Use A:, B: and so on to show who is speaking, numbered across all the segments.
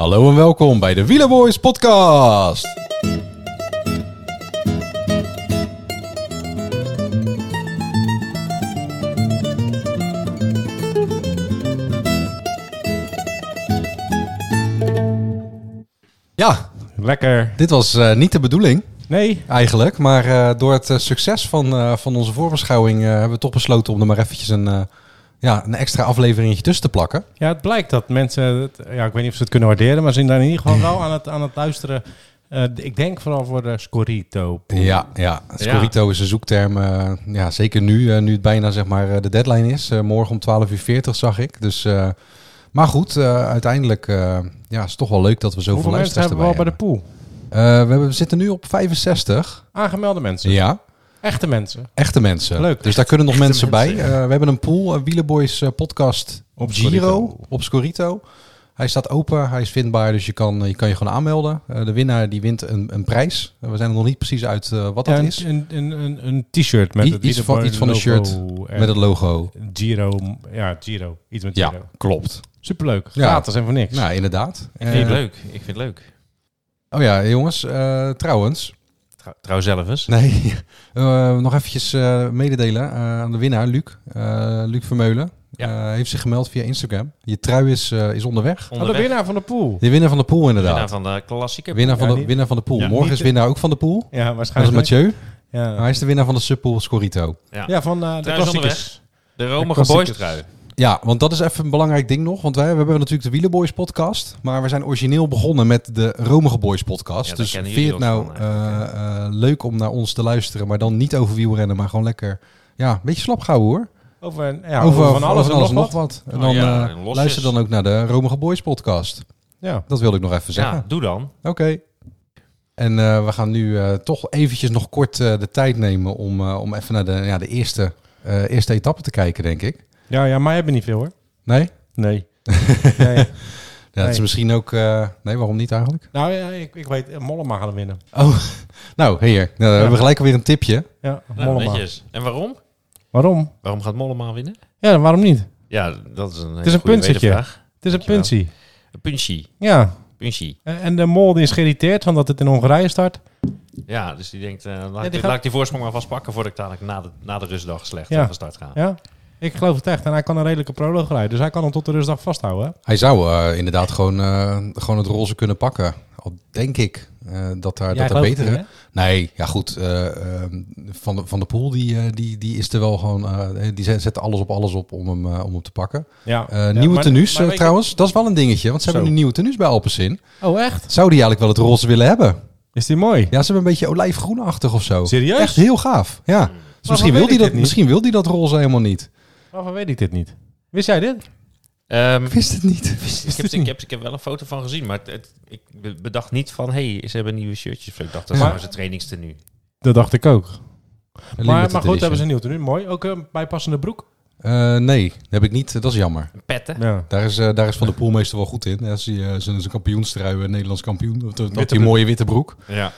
A: Hallo en welkom bij de Wielerboys podcast. Ja,
B: Lekker.
A: dit was eh, niet de bedoeling
B: Nee.
A: eigenlijk, maar eh, door het eh, succes van, eh, van onze voorbeschouwing eh, hebben we toch besloten om er maar eventjes een, eh, ja, een extra afleveringetje tussen te plakken.
B: Ja, het blijkt dat mensen, het- ja, ik weet niet of ze het kunnen waarderen, maar ze zijn daar in ieder geval wel aan het, aan het luisteren. Eh, ik denk vooral voor de Scorito.
A: Ja, ja. Scorito is een zoekterm. eh, ja, zeker nu, eh, nu het bijna zeg maar, eh, de deadline is. Eh, morgen om 12.40 uur zag ik. Dus, eh, maar goed, eh, uiteindelijk eh ja, is het toch wel leuk dat we zoveel
B: Hoeveel mensen
A: luisteraars
B: hebben we
A: erbij
B: al bij
A: hebben.
B: de pool?
A: Eh, we, hebben- we zitten nu op 65.
B: Aangemelde mensen.
A: Ja,
B: Echte mensen.
A: echte mensen.
B: Leuk.
A: Dus daar kunnen nog
C: Echte
A: mensen, bij.
C: mensen,
A: Eh, we hebben een pool, een Wielerboys eh, podcast op
B: Op
A: Giro,
B: Scorito.
A: op Scorito. Hij staat open, hij is vindbaar, dus je kan eh, je, kan je gewoon aanmelden. Eh, de winnaar die wint een, een prijs. Eh, we zijn er nog niet precies uit eh, wat
B: Ja,
A: dat
B: een,
A: is.
B: een, een, een, een t-shirt met
A: I-
B: het
A: iets van- iets van een
B: Leaderboard
A: shirt
B: logo en
A: Met het logo.
B: Giro. Ja, Giro. Iets met
A: Ja,
B: Giro.
A: klopt.
B: Superleuk.
A: Ja.
B: Gratis en voor niks.
A: Nou, inderdaad.
C: Ik vind
A: Eh,
C: het leuk. Ik vind het leuk.
A: Oh ja, jongens, eh, trouwens.
C: Trou- Trouw zelf
B: Oh,
C: eens.
A: Nee, eh, nog eventjes eh, mededelen eh, aan de winnaar, Luc. Eh, Luc Vermeulen
C: Ja.
A: eh, heeft zich gemeld via Instagram. Je trui is, eh, is onderweg.
B: Oh, de
C: Onderweg.
B: winnaar van de pool.
A: De winnaar van de pool, inderdaad.
C: Winnaar
A: Winnaar
C: van de klassieke.
A: van, winnaar van,
B: Ja,
A: de,
B: die-
A: winnaar van de pool.
C: Ja,
A: Morgen
B: niet
A: is
B: de-
A: winnaar ook van de pool.
B: Ja,
A: Dat is
B: waarschijnlijk.
A: Mathieu. Hij
B: Ja.
A: is de winnaar van de subpool Scorito.
B: ja, van eh, de
C: Daar is
B: klassiekers.
C: De
B: De
C: romige
B: klassiekers.
C: boystrui.
A: Ja, want dat is even een belangrijk ding nog. Want wij, we hebben natuurlijk de Wielerboys podcast. Maar we zijn origineel begonnen met de Romige Boys podcast.
C: Ja, daar
A: dus vind
C: kennen
A: je
C: jullie
A: het
C: ons
A: nou
C: van eigenlijk,
A: eh, eh, leuk om naar ons te luisteren. Maar dan niet over wielrennen, maar gewoon lekker... Ja, een beetje slap houden hoor.
B: Over, ja, over, van alles en nog wat.
A: En
C: Oh,
A: dan
C: ja,
A: eh,
C: en losjes.
A: luister dan ook naar de Romige Boys podcast.
B: Ja.
A: Dat wilde ik nog even zeggen.
C: Ja, doe dan.
A: Oké. En eh, we gaan nu eh, toch eventjes nog kort eh, de tijd nemen om, eh, om even naar de, ja, de eerste, eh, eerste etappe te kijken, denk ik.
B: Ja, ja, maar hebben niet veel hoor.
A: Nee?
B: Nee. nee.
A: Ja, Dat is
B: Nee.
A: misschien ook... eh, nee, waarom niet eigenlijk?
B: Nou ja, ik, ik weet, eh, Mollema gaan winnen.
A: Oh, nou, hier. Nou, dan hebben we gelijk alweer een tipje.
B: Ja,
C: Nou,
B: Mollema.
C: netjes. En waarom?
B: Waarom?
C: Waarom gaat Mollema winnen?
B: Ja, waarom niet?
C: Ja, dat is een hele
B: is een
C: goede
B: puntsetje.
C: wedervraag.
B: Het is een
C: Dankjewel.
B: puntie.
C: Een puntje.
B: Ja. Eh,
C: Puntje.
B: En en de Mol die is geïrriteerd van dat het in Hongarije start.
C: Ja, dus die denkt, eh, laat, ik-
B: die
C: laat
B: gaat-
C: ik die voorsprong maar vast pakken voordat ik dadelijk na de, na de rustdag slecht
B: Ja.
C: eh, van start ga.
B: Ja. Ik geloof het echt. En hij kan een redelijke proloog rijden. Dus hij kan hem tot de rustdag vasthouden. hè?
A: Hij zou eh, inderdaad gewoon, eh, gewoon het roze kunnen pakken. Al denk ik eh, dat daar, dat
B: Jij
A: daar
B: gelooft het
A: betere...
B: niet, hè?
A: Nee, ja goed. eh, ehm, van, de, van de Poel, die, eh, die, die is er wel gewoon... eh, die zet zet alles op alles op om hem, eh, om hem te pakken.
B: Ja.
A: Eh,
B: Ja,
A: nieuwe
B: maar-
A: tenues
B: maar
A: eh,
B: weet je-
A: trouwens. Dat is wel een dingetje. Want ze hebben
B: Zo.
A: nu nieuwe tenues bij Alpecin.
B: Oh, echt?
A: Zou die eigenlijk wel het roze willen hebben?
B: Is die mooi?
A: Ja, ze hebben een beetje olijfgroenachtig of zo.
B: Serieus?
A: Echt heel gaaf. Ja. Dus misschien,
B: weet
A: wil die
B: ik dit
A: dat,
B: niet?
A: misschien wil die dat roze helemaal niet.
B: Waarvan weet ik dit niet? Wist jij dit?
C: Ehm,
A: Ik wist het niet.
C: ik, heb, ik, heb, ik heb wel een foto van gezien, maar het, het- ik be- bedacht niet van, hé, hey, ze hebben nieuwe shirtjes. Ik dacht, dat
A: Ja.
C: waren ze trainingstenu.
B: Dat dacht ik ook. Maar,
A: Limited
B: maar goed,
A: edition.
B: hebben ze een nieuw tenue. Mooi. Ook een bijpassende broek.
A: Eh, nee, dat heb ik niet. Dat is jammer.
C: Petten.
B: Ja.
A: Daar is, eh, daar is Van der Poel meestal wel goed in. Dat is die, eh, zijn, zijn kampioenstrui, eh, Nederlands kampioen. Dat- Dat, dat
B: Witte
A: die mooie witte broek.
C: Ja.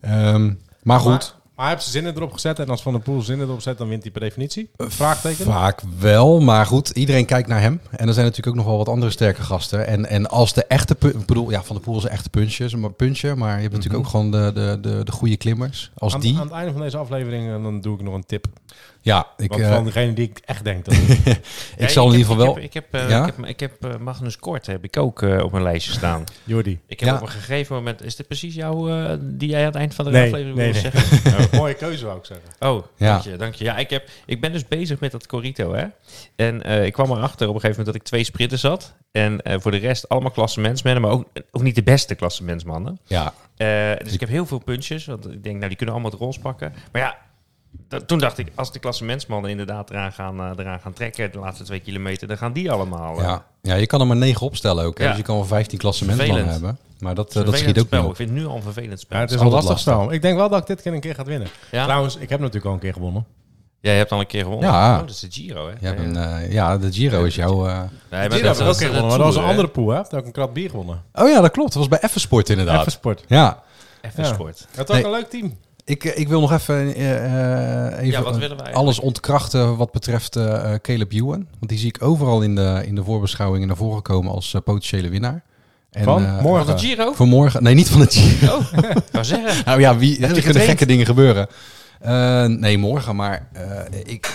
A: Ehm, maar goed,
B: Maar, maar hij heeft zijn zinnen erop gezet. En als Van der Poel zinnen erop zet, dan wint hij per definitie.
A: Eh,
B: Vraagteken.
A: vaak wel. Maar goed, iedereen kijkt naar hem. En er zijn natuurlijk ook nog wel wat andere sterke gasten. En, en als de echte... pu- Ik bedoel, ja, Van der Poel is een echte puncher, is een puncher. Maar je hebt natuurlijk ook gewoon de, de, de, de goede klimmers. Als
B: Mhm. aan,
A: die...
B: aan het einde van deze aflevering eh, dan doe ik nog een tip.
A: ja, ik,
B: Want
A: eh,
B: van degene die ik echt denk. Dat het-
A: ik zal in ieder geval wel...
C: Ik heb, ik heb, eh,
A: Ja?
C: ik heb, ik heb eh, Magnus Kort heb ik ook eh, op mijn lijstje staan.
B: Jordi.
C: Ik heb
A: Ja.
C: op een gegeven moment... Is dit precies jouw... eh, die jij aan het eind van de
B: Nee,
C: aflevering
B: nee,
C: wilde
B: nee.
C: zeggen?
B: Eh, mooie keuze wou ik zeggen.
C: Oh,
A: Ja.
C: dank je, dank je. Ja, ik, heb, ik ben dus bezig met dat Corito, hè. En eh, ik kwam erachter op een gegeven moment dat ik twee sprinters had. En eh, voor de rest allemaal klassementsmannen, maar ook, ook niet de beste klassementsmannen.
A: Ja,
C: Eh, dus ik heb heel veel puntjes. Want ik denk, nou, die kunnen allemaal het roze pakken. Maar ja, da- toen dacht ik, als de klassementsmannen inderdaad eraan gaan, eh, eraan gaan trekken... de laatste twee kilometer, dan gaan die allemaal... eh,
A: ja. ja, je kan er maar negen opstellen ook. Hè?
C: Ja.
A: Dus je kan wel 15 klassementsmannen
C: Vervelend.
A: hebben. Maar dat, eh,
C: vervelend
A: dat schiet ook
C: spel.
A: wel.
C: Ik vind het nu al een vervelend spel.
B: Ja, het is
A: is
B: al
A: altijd
B: lastig
A: lastig.
B: spel. Ik denk wel dat ik dit keer een keer gaat winnen.
C: Ja?
B: Trouwens, ik heb natuurlijk al een keer gewonnen.
C: Jij hebt al een keer gewonnen.
A: Ja.
C: Oh, dat is de Giro, hè?
A: Ja, dan, eh, ja, de Giro is jouw... eh,
C: Nee,
B: Giro heb ik ook een keer gewonnen. Maar dat was een andere
C: andere...
B: poel. Hè? Daar heb ik een krat bier gewonnen.
A: Oh ja, dat klopt. Dat was bij Effensport inderdaad.
B: Even sport.
A: Ja,
C: Even
B: Ja.
C: sport.
B: Het was
A: Nee.
B: een leuk team.
A: ik, ik wil nog even, eh, eh, even
C: Ja, wat willen wij?
A: alles ontkrachten wat betreft eh, eh, Caleb Ewan. Want die zie ik overal in de, in de voorbeschouwingen naar voren komen als eh, potentiële winnaar. En,
B: Van?
A: eh,
B: Morgen.
C: Van de Giro?
A: Vanmorgen. Nee, niet van het Giro.
C: Oh, wou zeggen.
A: Nou ja, wie, er kunnen
C: getraind?
A: gekke dingen gebeuren. Eh, nee, morgen. Maar eh, ik,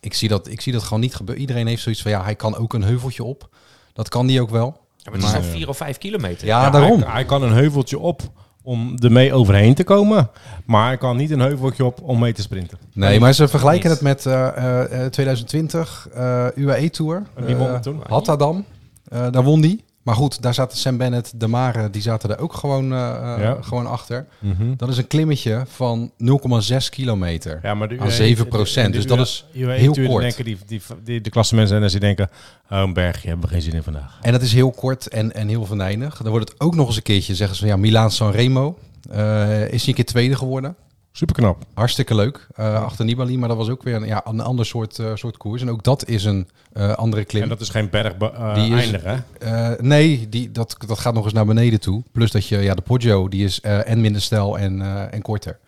A: ik, zie dat, ik zie dat gewoon niet gebeuren. Iedereen heeft zoiets van, ja, hij kan ook een heuveltje op. Dat kan die ook wel.
C: Ja, maar het is
A: Maar-
C: al vier of vijf kilometer.
A: Ja, Ah, daarom.
B: Hij, hij kan een heuveltje op om ermee overheen te komen. Maar hij kan niet een heuveltje op om mee te sprinten.
A: Nee, maar ze vergelijken
C: Niet.
A: het met eh, eh, eh, 2020, eh, UAE Tour.
B: En wie won
A: Eh,
B: het toen?
A: Hattadam, Eh, daar won die. Maar goed, daar zaten Sam Bennett, De Mare, die zaten er ook gewoon, eh, eh,
B: Ja.
A: gewoon achter.
B: Mhm.
A: Dat is een klimmetje van 0,6 kilometer.
B: Ja, maar de
A: Aan 7%, dus dat is
B: E
A: heel kort.
B: Denken, die, die, die, de klasse mensen en als die denken, oh, een bergje hebben we geen zin in vandaag.
A: En dat is heel kort en, en heel venijnig. Dan wordt het ook nog eens een keertje, zeggen ze van ja, Milaan San Remo eh, is niet een keer tweede geworden.
B: Superknap.
A: Hartstikke leuk, eh, achter Nibali, maar dat was ook weer een, ja, een ander soort, eh, soort koers. En ook dat is een eh, andere
B: En
A: klim.
B: dat is geen berg eh,
A: Die is-
B: eindigen, hè?
A: Eh, nee, die, dat, dat gaat nog eens naar beneden toe. Plus dat je, ja, de Poggio, die is eh, en minder stijl en, eh, en korter.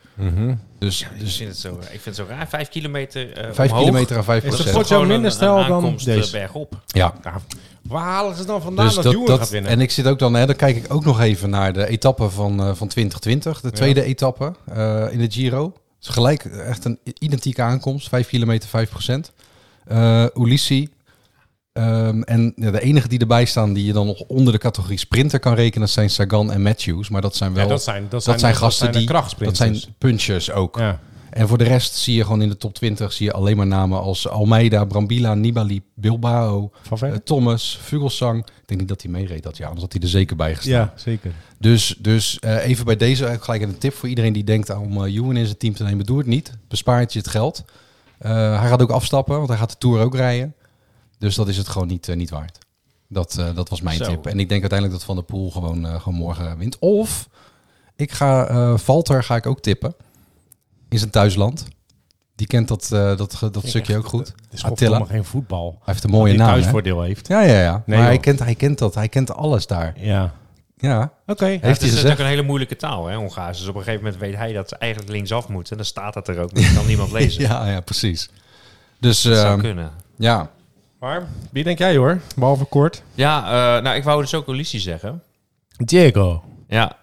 A: Dus,
C: Ik
A: dus
C: vind het zo, ik vind het zo raar. Vijf kilometer eh
A: vijf
C: omhoog.
A: kilometer aan vijf
B: Is dat
A: procent.
B: voor-
C: Gewoon
B: minder
C: een-
B: stijl
C: een
B: dan
C: aankomst, eh,
B: deze.
C: bergop.
A: Ja.
B: Ja, waar halen ze dan vandaan
A: Dus
B: dat,
A: dat,
B: Juwen
A: dat-
B: gaat winnen?
A: en ik zit ook dan, hè, dan kijk ik ook nog even naar de etappe van, eh, van 2020, de tweede etappe eh, in de Giro. Het is gelijk eh, echt een identieke aankomst, 5 kilometer, 5 procent. Eh, Ulissi. Ehm, en ja, de enige die erbij staan die je dan nog onder de categorie sprinter kan rekenen, dat zijn Sagan en Matthews. Maar dat zijn wel,
B: Ja,
A: dat,
B: zijn,
A: zijn gasten
B: de
A: die-
B: krachtsprinters.
A: zijn punchers ook.
B: Ja.
A: En voor de rest zie je gewoon in de top 20 zie je alleen maar namen als Almeida, Brambila, Nibali, Bilbao,
B: Van
A: eh,
B: verder?
A: Thomas, Vugelsang. Ik denk niet dat hij meereed dat jaar, anders had hij er zeker bij gestaan.
B: Ja, zeker.
A: Dus, dus eh, even bij deze ook gelijk een tip voor iedereen die denkt om eh Ewan in zijn team te nemen. Doe het niet. Bespaart je het geld. Eh, hij gaat ook afstappen, want hij gaat de Tour ook rijden. Dus dat is het gewoon niet, eh, niet waard. Dat, eh, dat was mijn
C: Zo.
A: tip. En ik denk uiteindelijk dat Van der Poel gewoon, eh, gewoon morgen wint. Of ik ga eh, Valter ga ik ook tippen. In zijn thuisland. Die kent dat, eh, dat, ge- dat stukje ook goed.
B: Het is
A: Attila.
B: gewoon helemaal geen voetbal.
A: Hij heeft een mooie
B: die
A: naam. hè?
B: thuisvoordeel heeft.
A: Ja, ja, ja.
B: Nee,
A: maar hij
B: joh.
A: kent, hij kent dat. Hij kent alles daar.
B: Ja.
A: Ja.
B: Oké.
C: Ja,
A: Heeft
C: het
A: hij
C: is
A: gezegd?
C: natuurlijk een hele moeilijke taal, hè, Hongaars. Dus op een gegeven moment weet hij dat ze eigenlijk linksaf moeten. En dan staat dat er ook. niet. kan niemand lezen.
A: Ja, ja, precies. Dus
C: Dat zou
A: ehm,
C: kunnen.
A: ja,
B: Maar wie denk jij hoor? Behalve Kort.
C: Ja, eh, nou, ik wou dus ook Ulissi zeggen.
B: Diego.
C: Ja,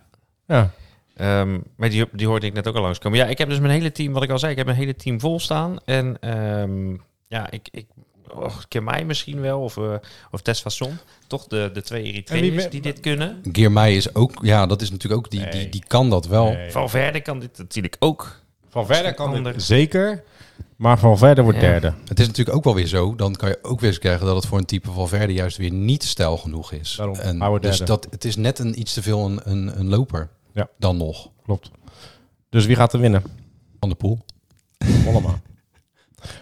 B: Ja.
C: Ehm, maar die, die hoorde ik net ook al langskomen. Ja, ik heb dus mijn hele team, wat ik al zei, ik heb mijn hele team vol staan. En ehm, ja, ik, ik och, ken mij misschien wel, of, eh of Tess Fasson. Toch de, de twee
B: En
C: Eritreërs
B: wie-
C: die dit kunnen.
A: Girmay is ook, ja, dat is natuurlijk ook, die, die,
B: Nee.
A: die kan dat wel.
B: Nee.
C: Valverde kan dit natuurlijk ook.
B: Van verder
C: kan
B: kan
C: dit-
B: het zeker. Maar van verder wordt
C: Ja.
B: derde.
A: Het is natuurlijk ook wel weer zo, dan kan je ook weer eens krijgen dat het voor een type van Verde juist weer niet stijl genoeg is.
B: Daarom,
A: En
B: oude
A: dus
B: derde.
A: dat, het is net een, iets te veel een, een, een loper
B: Ja.
A: dan nog.
B: Klopt. Dus wie gaat er winnen?
A: Van de Poel.
B: Mollema.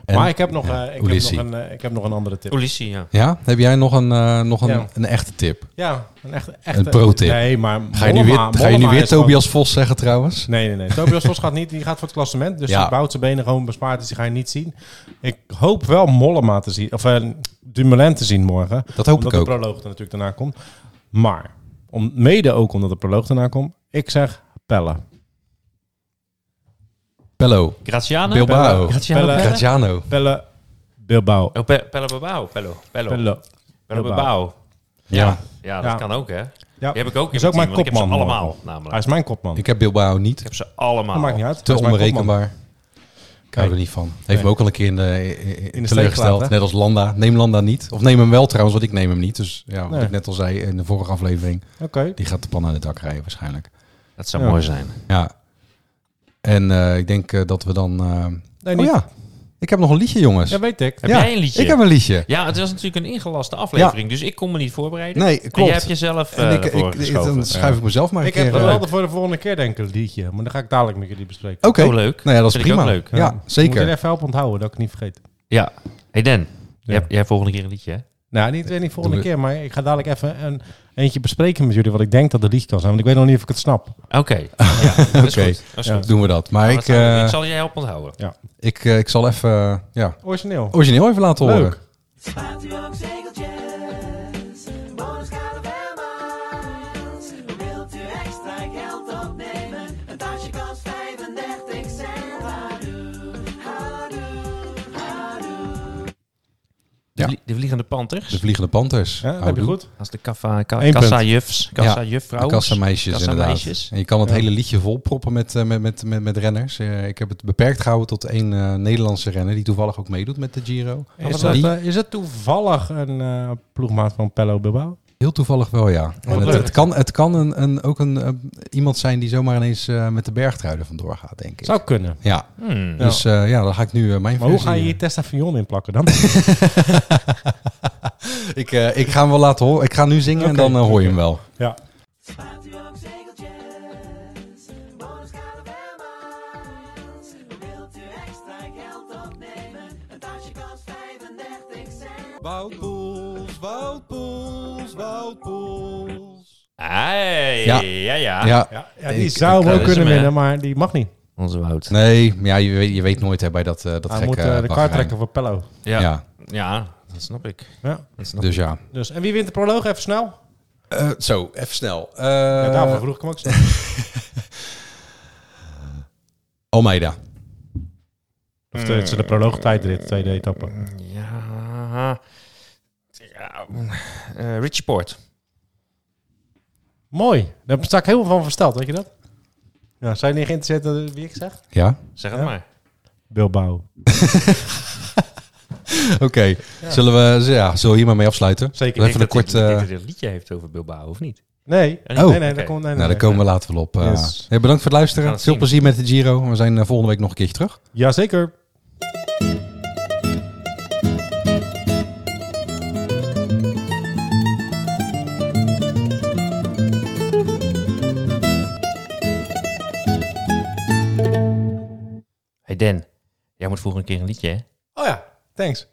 A: En-
B: maar ik heb nog, eh, ik, heb nog
A: Ulissi.
B: een, eh, ik heb nog een andere tip.
C: Ulissi, ja.
A: Ja, heb jij nog een, eh, nog een,
B: Ja.
A: een echte tip?
B: Ja, een echte... echte
A: Een pro-tip.
B: Nee, maar
A: Ga je nu weer,
B: Mollema-
A: ga je nu
B: Mollema
A: weer
B: is gewoon-
A: Tobias Vos zeggen trouwens?
B: Nee, nee, nee. Tobias Vos gaat niet. Die gaat voor het klassement. Dus
A: Ja.
B: die bouwt zijn benen gewoon bespaard. Dus die ga je niet zien. Ik hoop wel Mollema te zien. Of eh, Dumoulin te zien morgen.
A: Dat hoop
B: omdat
A: ik ook.
B: de proloog er natuurlijk daarna komt. Maar, om, mede ook omdat de proloog daarna komt. Ik zeg Pelle.
A: Pello.
C: Graziano.
A: Bilbao.
C: Graziano
B: Pelle.
C: Pelle.
A: Graziano.
B: Pelle Bilbao.
C: Oh, Pe- Pelle Bilbao. Pello. Pello. Pello
B: Pelle.
C: Bilbao.
A: Ja.
C: Ja, dat
B: Ja.
C: kan ook, hè.
B: Ja.
C: Die heb ik ook in
B: Is ook
C: mijn
B: mijn
C: team, want ik heb ze
B: kopman.
C: allemaal,
B: morgen.
C: namelijk.
B: Hij is mijn kopman.
A: Ik heb Bilbao niet.
C: Ik heb ze
B: dat
C: allemaal.
B: maakt niet uit.
A: Te
B: Hij is mijn kopman.
A: onberekenbaar. Ik hou er
B: Nee.
A: niet van. Heeft me ook al een keer in de, in
B: steek
A: teleurgesteld.
B: gelaten, hè?
A: Net als Landa. Neem Landa niet. Of neem hem wel trouwens, want ik neem hem niet. Dus ja, wat
B: Nee.
A: ik net al zei in de vorige aflevering.
B: Oké.
A: Die gaat de pan aan het dak rijden waarschijnlijk.
C: Dat zou
B: Ja.
C: mooi zijn.
A: Ja. En eh, ik denk eh, dat we dan... eh,
B: Nee,
A: Oh
B: niet.
A: ja, ik heb nog een liedje jongens.
B: Ja, weet ik.
C: Heb
A: Ja,
C: jij een liedje?
A: Ik heb een liedje.
C: Ja, het was natuurlijk een ingelaste aflevering, dus ik kon me niet voorbereiden.
A: Nee,
C: En
A: klopt.
C: jij hebt jezelf eh
A: En ik,
C: ervoor
A: ik, ik-
C: geschoven.
A: dan schuif ik mezelf maar een
B: Ik
A: keer.
B: heb
A: eh,
B: wel voor de volgende keer denk ik een liedje. Maar dan ga ik dadelijk met jullie bespreken.
A: Oké.
C: Oh, leuk.
A: Nou ja, dat is
C: Vind ik ook
A: prima.
C: leuk.
A: Ja,
B: Moet je
A: zeker.
B: er even op onthouden, dat ik het niet vergeet.
C: Ja. Hey Dan, jij,
B: Ja.
C: hebt- jij hebt volgende keer een liedje, hè?
B: Nou, niet, niet volgende
A: Doe
B: keer, maar ik ga dadelijk even een, eentje bespreken met jullie wat ik denk dat het liedje kan zijn. Want ik weet nog niet of ik het snap.
C: Oké. Ja, dat is
A: Oké.
C: goed. Dat is
B: Ja.
C: goed.
A: Doen we dat. Maar
C: Nou,
A: ik,
C: dat zou-
A: eh,
C: ik zal jij helpen onthouden.
A: ik, eh, ik zal even eh, ja,
B: Origineel.
A: origineel even laten
B: Leuk.
A: horen.
D: Patriot zegeltjes, bonus caravans. Wilt u extra geld opnemen? Een tasje kost 35 cent. Hadoe, hadoe, hadoe.
A: Ja.
C: Li- de Vliegende Panthers.
A: De Vliegende Panthers.
B: Ja, dat heb je
A: Houdoe.
B: goed.
C: Als de kaffa, ka, Hmm.
B: Eén punt.
C: kassa-jufs,
A: De
C: kassa-juffrouw.
A: kassameisjes inderdaad.
C: Kassameisjes.
A: En je kan het
B: Ja.
A: hele liedje volproppen met, eh, met, met, met, met renners. Eh, ik heb het beperkt gehouden tot één eh, Nederlandse renner die toevallig ook meedoet met de Giro.
B: Is dat,
A: Die-
B: eh, is dat toevallig een eh, ploegmaat van Pello Bilbao?
A: Heel toevallig wel, ja. En het,
B: leuk.
A: het kan, het kan een, een, ook een, eh, iemand zijn die zomaar ineens eh, met de bergtruiden vandoor gaat, denk ik.
B: Zou kunnen.
A: Ja,
C: Hmm.
B: Ja.
A: dus eh, ja, dan ga ik nu eh, mijn
B: Maar hoe
A: versie,
B: ga je
A: eh,
B: hier Testafion in plakken dan?
A: ik, eh, ik ga hem wel laten horen. Ik ga nu zingen en
B: Oké.
A: dan eh, hoor je hem wel.
B: ja.
D: Spaart u ook zegeltjes, bonuskade Vermaans. Wilt u extra geld opnemen? Een tasje kost 35 cent.
A: Woutpoels, Woutpoels, Woutpoels.
C: Hey,
A: Ja.
C: ja. Ja,
A: Ja,
B: Ah, Ja, ja, die
A: Ik-
B: zou
A: ik,
B: wel
A: eh,
B: kunnen
C: is hem, hè?
B: winnen, maar die mag niet.
C: Onze Wout.
A: nee, maar ja, je, weet, je weet nooit hè, bij dat, eh dat
B: Hij
A: gekke
B: moet eh, de
A: Bahrein.
B: kaart trekken voor Pello.
C: Ja. Ja.
A: ja,
C: dat snap ik.
B: Ja.
C: Dat snap
A: dus ja.
B: Dus, en wie wint de proloog? Even snel.
A: Eh, zo, even snel. Eh
B: ja, daarvoor vroeg ik hem ook snel.
A: Almeida.
B: Of de, het is de proloog tijdrit, tweede etappe.
C: ik. Hmm, Ja. ja. eh, Richie Poort.
B: Mooi. Daar sta ik heel veel van versteld, weet je dat? Ja, zijn jullie niet geïnteresseerd in wie ik zeg?
A: Ja?
C: Zeg het
B: Ja.
C: maar.
B: Bilbao.
A: Oké. Zullen, we, ja, zullen we hier maar mee afsluiten? Even
B: Zeker.
A: een
C: Ik denk
A: kort...
C: dat hij- ik
A: eh,
C: denk dat hij een liedje heeft over Bilbao, of niet?
B: Nee.
C: Oh,
B: nee, nee,
C: oké.
B: daar komt... Nee,
A: nou, daar
B: nee,
A: komen we later wel op. eh.
B: Yes.
A: Ja, bedankt voor het
C: Gaan we
A: luisteren.
C: het
A: Veel
C: zien.
A: plezier met de Giro. We zijn eh, volgende week nog een keertje terug.
B: nee. Jazeker.
C: Hey Dan, jij moet vroeger een keer een liedje, hè?
B: Oh ja, thanks.